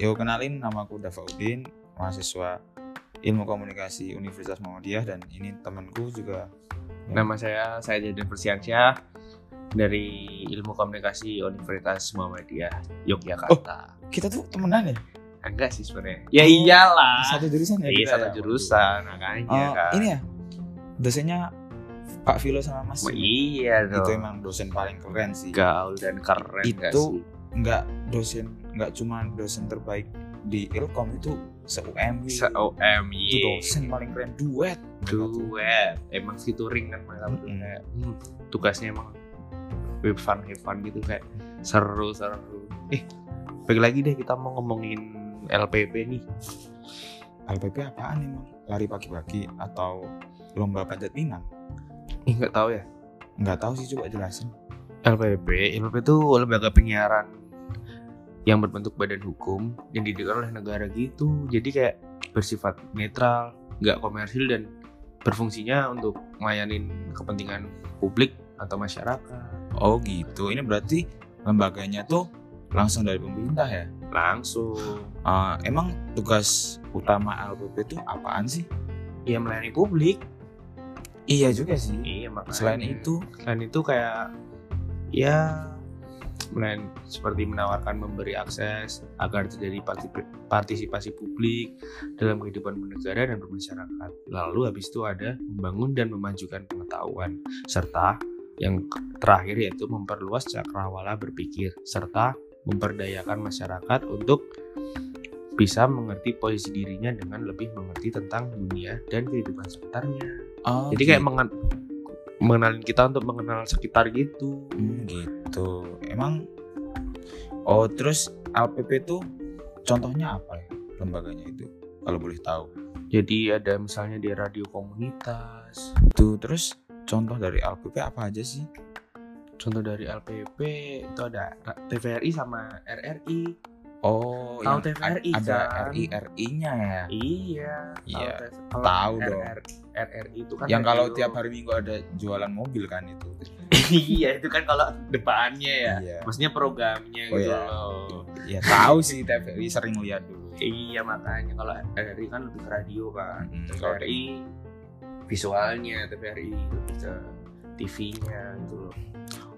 Yo kenalin nama aku Dafaudin, mahasiswa Ilmu Komunikasi Universitas Muhammadiyah dan ini temanku juga Nama saya saya Jaden Persiansyah dari Ilmu Komunikasi Universitas Muhammadiyah Yogyakarta. kita tuh temenan ya Enggak sih sebenarnya. Ya iyalah. satu jurusan Oh. ya Iya kita satu ya? jurusan makanya Oh, kan. ini ya dosennya Pak Vilo sama Mas Ma- Iya dong. itu emang dosen paling keren sih gaul dan keren nggak Itu sih? nggak dosen nggak cuma dosen terbaik di Ilkom itu se UMW se itu OMY dosen paling keren duet mereka tuh. duet emang featuring kan mereka berdua. Mm-mm. Kayak, hmm, tugasnya emang have fun have fun gitu kayak seru seru eh balik lagi deh kita mau ngomongin LPP nih LPP apaan emang lari pagi-pagi atau lomba panjat pinang Ih, nggak tahu ya nggak tahu sih coba jelasin LPP LPP itu lembaga penyiaran yang berbentuk badan hukum yang didirikan oleh negara gitu jadi kayak bersifat netral nggak komersil dan berfungsinya untuk melayani kepentingan publik atau masyarakat oh gitu ini berarti lembaganya tuh langsung dari pemerintah ya langsung Eh, emang tugas utama LPP itu apaan sih ya melayani publik iya juga sih iya makanya selain itu selain itu kayak ya melayani seperti menawarkan memberi akses agar terjadi parti- partisipasi publik dalam kehidupan bernegara dan bermasyarakat lalu habis itu ada membangun dan memajukan pengetahuan serta yang ke- terakhir yaitu memperluas cakrawala berpikir serta memperdayakan masyarakat untuk bisa mengerti posisi dirinya dengan lebih mengerti tentang dunia dan kehidupan sekitarnya Oh, jadi kayak mengen- mengenalin kita untuk mengenal sekitar gitu Hmm, gitu. Emang Oh, terus LPP itu contohnya apa ya lembaganya itu? Kalau boleh tahu. jadi ada misalnya di radio komunitas Tuh, terus contoh dari LPP apa aja sih? contoh dari LPP itu ada Ra- TVRI sama RRI Oh, Tahu yang a- TVRI ada kan? RI RI-nya ya. iya Iya, kalau tahu RR dong. RRI itu kan Yang kalau radio. tiap hari Minggu ada jualan mobil kan itu. iya itu kan kalau depannya ya Iya. maksudnya programnya Oh, gitu iya. loh Ya tahu sih TVRI sering lihat dulu. kan. iya makanya kalau RRI kan lebih ke radio kan Mm, kalau ada- TVRI visualnya TVRI lebih ke TV-nya gitu loh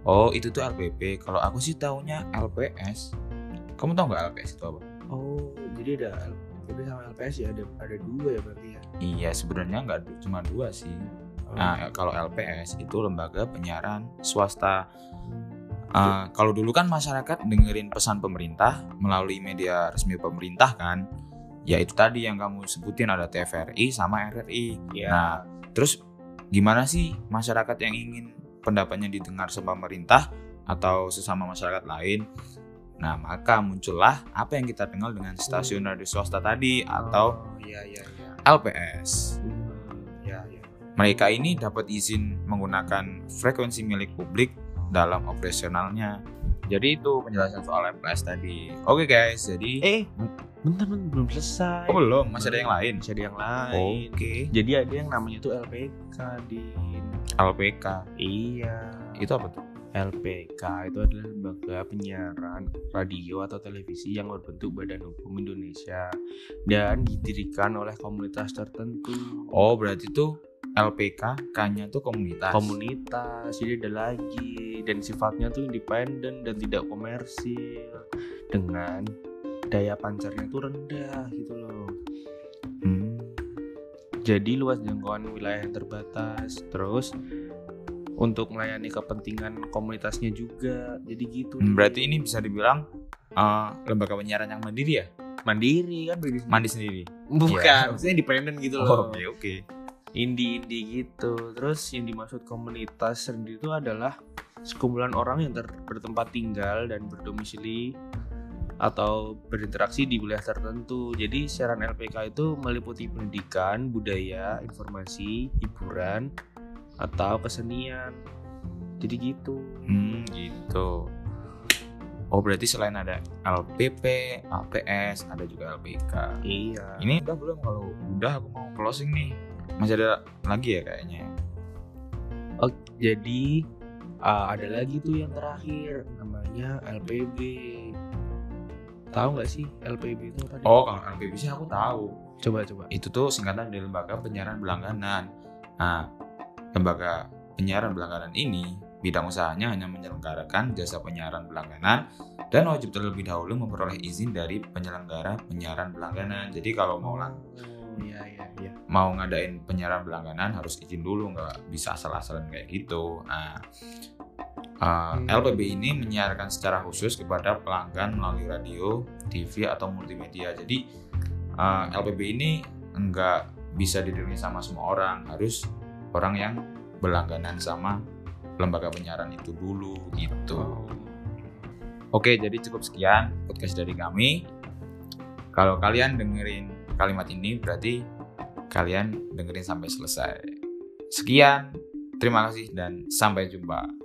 Oh, itu tuh LPP. Kalau aku sih taunya LPS. Kamu tahu nggak LPS itu apa? Oh, jadi ada LPP sama LPS ya ada ada dua ya berarti ya. Oh, Iya, sebenarnya nggak du- cuma dua sih. Nah, kalau LPS itu lembaga penyiaran swasta. Eh, kalau dulu kan masyarakat dengerin pesan pemerintah melalui media resmi pemerintah kan, ya itu tadi yang kamu sebutin ada TVRI sama RRI. ya. Nah, terus gimana sih masyarakat yang ingin pendapatnya didengar sama pemerintah atau sesama masyarakat lain? Nah, maka muncullah apa yang kita dengar dengan stasiun radio swasta tadi atau Oh, ya ya ya. LPS. Hmm, ya ya. Mereka ini dapat izin menggunakan frekuensi milik publik dalam operasionalnya. Jadi itu penjelasan soal MPLS tadi. Oke guys, jadi Eh, bentar bentar belum selesai. oh, belum masih ada yang lain. Masih ada yang lain. Oke, Jadi ada yang namanya tuh LPK di LPK Iya. itu apa tuh? LPK itu adalah lembaga penyiaran radio atau televisi yang berbentuk Badan Hukum Indonesia dan didirikan oleh komunitas tertentu. Oh berarti tuh LPK K-nya tuh komunitas. komunitas jadi ada lagi dan sifatnya tuh independen dan tidak komersil dengan daya pancarnya tuh rendah gitu loh Hmm. jadi luas jangkauan wilayah yang terbatas terus untuk melayani kepentingan komunitasnya juga jadi gitu Hmm, deh. Berarti ini bisa dibilang eh, lembaga penyiaran yang mandiri ya? mandiri kan berdiri sendiri. Mandi Iya. sendiri. bukan maksudnya independen gitu loh Oke oke. indie-indie gitu. Terus yang dimaksud komunitas sendiri itu adalah sekumpulan orang yang ter- bertempat tinggal dan berdomisili atau berinteraksi di wilayah tertentu. Jadi siaran LPK itu meliputi pendidikan, budaya, informasi, hiburan, atau kesenian. Jadi gitu. Hmm, gitu. Oh berarti selain ada LPP, LPS, ada juga LPK. Iya. Ini udah belum kalau udah aku mau closing nih. Masih ada lagi ya kayaknya. Oh, Jadi ah, uh, ada lagi tuh yang terakhir namanya LPB. Tahu nggak sih LPB itu apa? Dit? Oh, kalau LPB sih aku tahu. Coba coba. Itu tuh singkatan dari lembaga penyiaran berlangganan. Nah, lembaga penyiaran berlangganan ini bidang usahanya hanya menyelenggarakan jasa penyiaran berlangganan dan wajib terlebih dahulu memperoleh izin dari penyelenggara penyiaran berlangganan. Jadi kalau mau lang- Iya iya iya. mau ngadain penyiaran berlangganan harus izin dulu nggak bisa asal-asalan kayak gitu. Nah, uh, Hmm. LPB ini menyiarkan secara khusus kepada pelanggan melalui radio, TV atau multimedia. Jadi uh, LPB ini nggak bisa didengar sama semua orang, harus orang yang berlangganan sama lembaga penyiaran itu dulu gitu. Oke, jadi cukup sekian podcast dari kami. Kalau kalian dengerin kalimat ini berarti kalian dengerin sampai selesai. Sekian, terima kasih dan sampai jumpa.